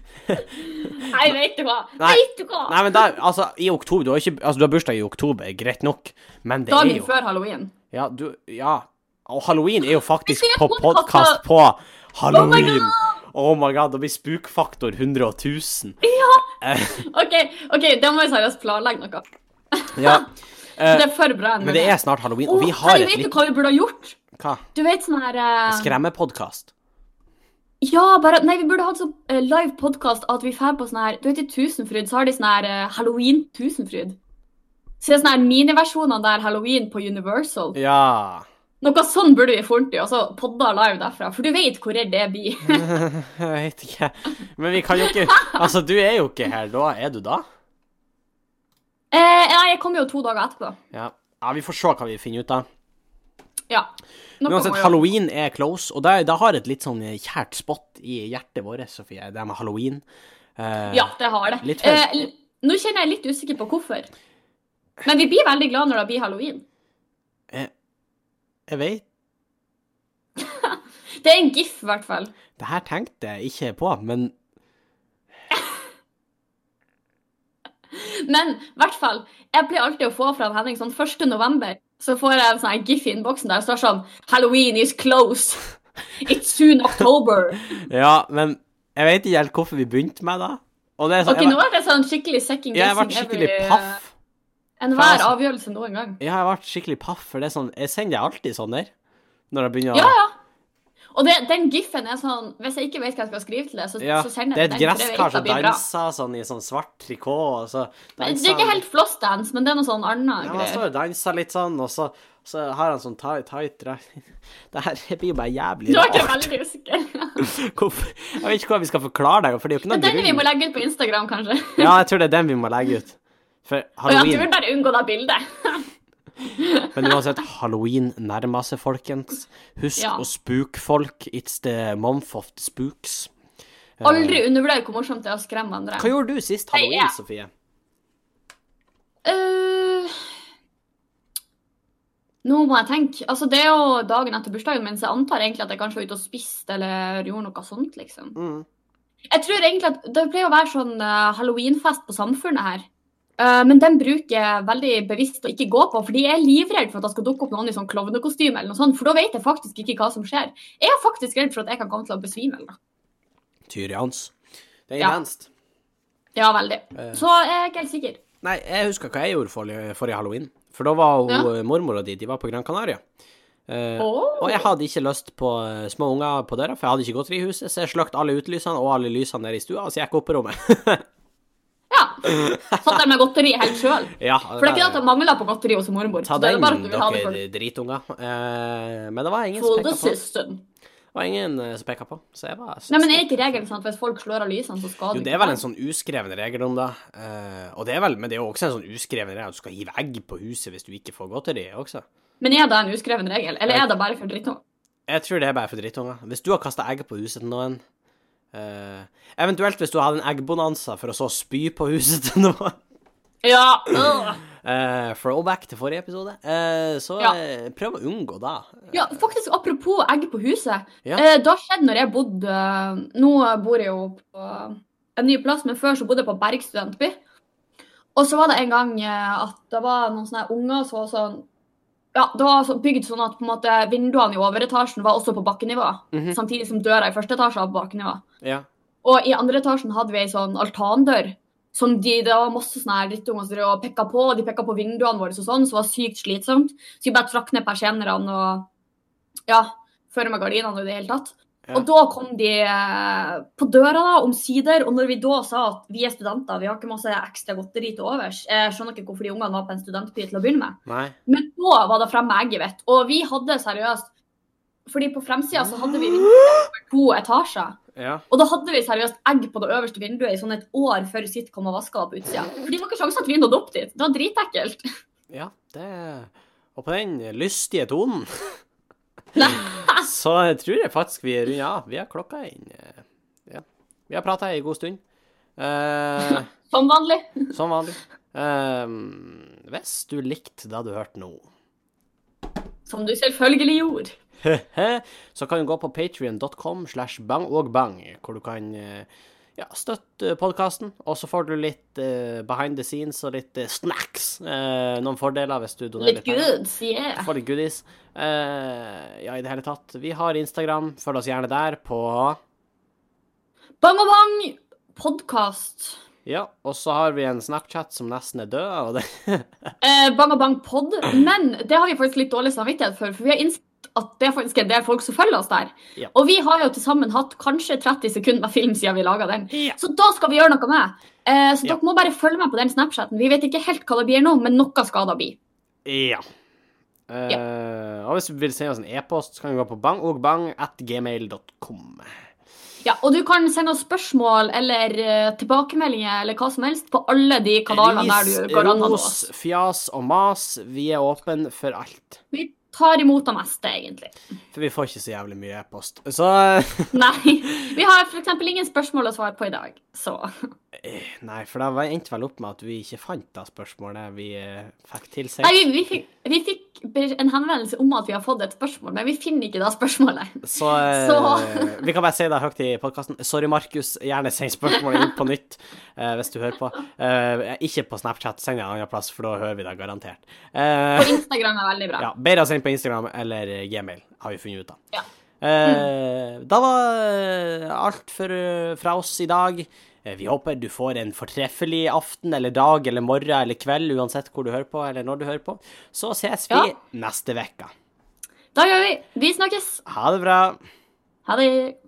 Nei, vet du hva?
Nei.
Vet du hva?
Nei, men da, altså, i oktober, du har ikke Altså, du har bursdag i oktober, greit nok, men det er
Dagen
jo
før halloween.
Ja, du Ja. Og halloween er jo faktisk
Vi skal
på
gjøre
podkast
podcast
på halloween.
god!
Oh my god, da blir spookfaktor 100 og 1000.
OK, ok, da må vi seriøst planlegge noe.
Ja. Eh,
Det er for bra.
Men det er snart halloween, og
Og
vi har et
Vet
litt
du hva vi burde ha gjort?
Hva?
Du vet sånn her eh,
Skremmepodkast?
Ja, bare Nei, vi burde hatt sånn eh, live podkast at vi drar på sånn her Du vet i Tusenfryd så har de sånn her eh, halloween-Tusenfryd. Så det er sånn her miniversjoner der halloween på Universal.
Ja.
Noe sånn burde vi funnet i, og så podda live derfra. For du vet hvor redd jeg blir.
Jeg vet ikke. Men vi kan jo ikke Altså, du er jo ikke her da. Er du da?
Eh, nei, jeg kommer jo to dager etterpå.
Ja. ja vi får se hva vi finner ut av.
Ja. Noe
Men Uansett,
må jo-
halloween er close, og da, da har et litt sånn kjært spot i hjertet vårt, Sofie, det med halloween. Eh,
Ja, det har det.
Litt før.
eh, l- nå kjenner jeg litt usikker på hvorfor. Men vi blir veldig glad når det blir halloween.
Jeg vet
Det er en gif, i hvert fall.
Det her tenkte jeg ikke på, men
Men i hvert fall, jeg pleier alltid å få fra en Henning sånn 1. november, så får jeg en sånn her gif i innboksen der det står sånn Halloween is close. It's soon October.
Ja, men jeg vet ikke helt hvorfor vi begynte med det. Og det er sånn,
Ok, nå sånn er det sånn skikkelig second
jeg, jeg, jeg ble
guessing
skikkelig
every-
paff. altså.
Enhver avgjørelse noen gang.
Ja, jeg ble skikkelig paff, for det er sånn Jeg sender deg alltid sånn der. Når jeg begynner å
Ja, ja. Og det, den gif-en er sånn Hvis jeg ikke vet hva jeg skal skrive til det, så,
Ja,
så sender
Det er
jeg den.
et
for jeg vet
gresskar
det
som
blir bra.
danser sånn i sånn svart trikot, og så
Men
danser
Det er ikke
han-
helt flossdance, men det er noe sånn annet
Ja, men han står
greier.
og danser litt sånn, og så, så har han sånn tight, tight dre- Det her blir jo bare jævlig
Du er ikke
rart.
veldig usikker.
Hvorfor- Jeg vet ikke hvordan vi skal forklare det, for det er jo ikke
Det
noe
er den vi
grunn.
må legge ut på Instagram, kanskje.
Ja, jeg tror det er den vi må legge ut. For
Og ja, du
halloween
vil bare unngå det bildet.
Men uansett, halloween nærmer seg, folkens. Husk
Ja.
å spooke folk. It's the month of the spooks. Eh,
Aldri undervurder hvor morsomt det er å skremme andre.
Hva gjorde du sist halloween,
Nei, ja.
Sofie?
Eh, nå må jeg tenke. Altså, det er jo dagen etter bursdagen min, så jeg antar egentlig at jeg kanskje var ute og spiste eller gjorde noe sånt, liksom.
Mm.
Jeg tror egentlig at Det pleier å være sånn eh, halloweenfest på Samfunnet her. Eh, men den bruker jeg veldig bevisst å ikke gå på, fordi jeg er livredd for at det skal dukke opp noen i sånn klovnekostyme, eller noe sånt, for da vet jeg faktisk ikke hva som skjer. Jeg er faktisk redd for at jeg kan komme til å besvime. eller noe.
Tyrians. Det er
Ja.
intenst.
Ja, veldig.
Eh.
Så jeg er ikke helt sikker.
Nei, jeg husker hva jeg gjorde forrige, forrige halloween. For da var hun, eh, mormora di de var på Gran Canaria. Eh,
Åh.
Og jeg hadde ikke lyst på eh, små unger på døra, for jeg hadde ikke godteri i huset, så jeg slukte alle utelysene og alle lysene nede i stua, og så gikk jeg opp på rommet.
Ja. Satt der med godteri helt sjøl.
Ja, eh,
For det er ikke det at det mangler på godteri hos mormor.
Ta
så det er
den,
jo bare at du vil ha det for
dere dritunger. Eh, men det var ingen som
for the
pekka på.
system.
Det var ingen eh, som pekka på, så jeg var
Nei, men er ikke regelen sånn at hvis folk slår av lysene, så skal du
Jo, det er vel en sånn uskreven regel om det. Eh, og det er vel, men det er jo også en sånn uskreven regel at du skal hive egg på huset hvis du ikke får godteri også.
Men er det en uskreven regel, eller er det bare for drittunger?
Jeg tror det er bare for drittunger. Hvis du har kasta egg på huset til noen eh, Eventuelt hvis du hadde en eggbonanza for å så spy på huset til noen.
Ja. øh.
Eh, throwback til forrige episode. Eh, så
Ja.
eh, prøv å unngå det.
ja, faktisk, apropos egg på huset.
Ja.
Eh, da skjedde når jeg bodde eh, Nå bor jeg jo på en ny plass, men før så bodde jeg på Berg studentby. Og så var det en gang eh, at det var noen sånne unger som var sånn Ja, det var så bygd sånn at på en måte vinduene i overetasjen var også på bakkenivå,
Mhm.
samtidig som døra i første etasje var på bakkenivå.
Ja.
Og i andre etasjen hadde vi ei sånn altandør. Som de, det var masse sånne her drittunger som drev og pekka på, og de pekka på vinduene våre og sånn, så det var sykt slitsomt. Så vi bare trakk ned persiennene og ja, føre med gardinene og i det hele tatt.
Ja.
Og da kom de eh, på døra, da, omsider. Og når vi da sa at vi er studenter, vi har ikke masse ekstra godteri til overs eh, Jeg skjønner ikke hvorfor de ungene var på en studentby til å begynne med.
Nei.
Men da var det fremme egget mitt. Og vi hadde seriøst Fordi på fremsida så hadde vi vinduer over to etasjer.
Ja.
Og da hadde vi seriøst egg på det øverste vinduet i sånn et år før sitt kom og vaska på utsida. For det var ikke sjanse at vi nådde opp dit. Det var dritekkelt.
Ja, det Og på den lystige tonen
Nei.
så tror jeg faktisk vi runder av. Vi har klokka inn. eh, Ja. Vi har prata ei god stund. Eh,
Som vanlig.
som vanlig. Eh, hvis du likte det du hørte nå
Som du selvfølgelig gjorde.
så kan du gå på patrion.com slash bang og bang, hvor du kan eh, ja, støtte podkasten. Og så får du litt eh, behind the scenes og litt eh, snacks. Eh, noen fordeler hvis du donerer
Litt
litt penger.
good, sier jeg.
For litt goodies. Eh, ja, i det hele tatt. Vi har Instagram. Følg oss gjerne der på
Bang og bang! Podkast.
Ja, og så har vi en Snapchat som nesten er død. Og det,
Eh, bang og bang pod. Men det har vi faktisk litt dårlig samvittighet for, for vi har innsett at det er faktisk en del folk som følger oss der.
Ja.
Og vi har jo til sammen hatt kanskje 30 sekunder med film siden vi laga den.
Ja.
Så da skal vi gjøre noe med. Eh, så
Ja.
dere må bare følge med på den Snapchaten. Vi vet ikke helt hva det blir nå, men noe skal det bli.
ja. Eh, Og hvis du vil sende oss en e-post, så kan du gå på bangogbang.gmail.com.
Ja, og du kan sende oss spørsmål eller eh, tilbakemeldinger eller hva som helst på alle de kanalene der du går an å nå
ros,
oss.
fjas og mas. Vi er åpne for alt.
Vi tar imot det meste, egentlig.
For vi får ikke så jævlig mye e-post. Så eh,
Nei. Vi har f.eks. ingen spørsmål å svare på i dag, så
eh, Nei, for det var- endte vel opp med at vi ikke fant det spørsmålet vi eh, fikk tilsendt.
Nei, vi, vi, fikk, vi fikk be- en henvendelse om at vi har fått et spørsmål, men vi finner ikke det spørsmålet.
Så, eh,
Så-
vi kan bare si det høyt i podkasten. Sorry, Markus. Gjerne send spørsmålet inn på nytt eh, hvis du hører på. Eh, ikke på Snapchat, send det en annen plass, for da hører vi det garantert. Eh,
På Instagram er veldig bra.
ja, bedre å sende på Instagram eller Gmail, har vi funnet ut av.
Ja.
Eh, Da var eh, alt for, eh, fra oss i dag. Eh, Vi håper du får en fortreffelig aften eller dag eller morgen eller kveld, uansett hvor du hører på eller når du hører på. Så ses vi
Ja.
neste uke.
Da gjør vi. Vi snakkes.
Ha det bra.
Ha det.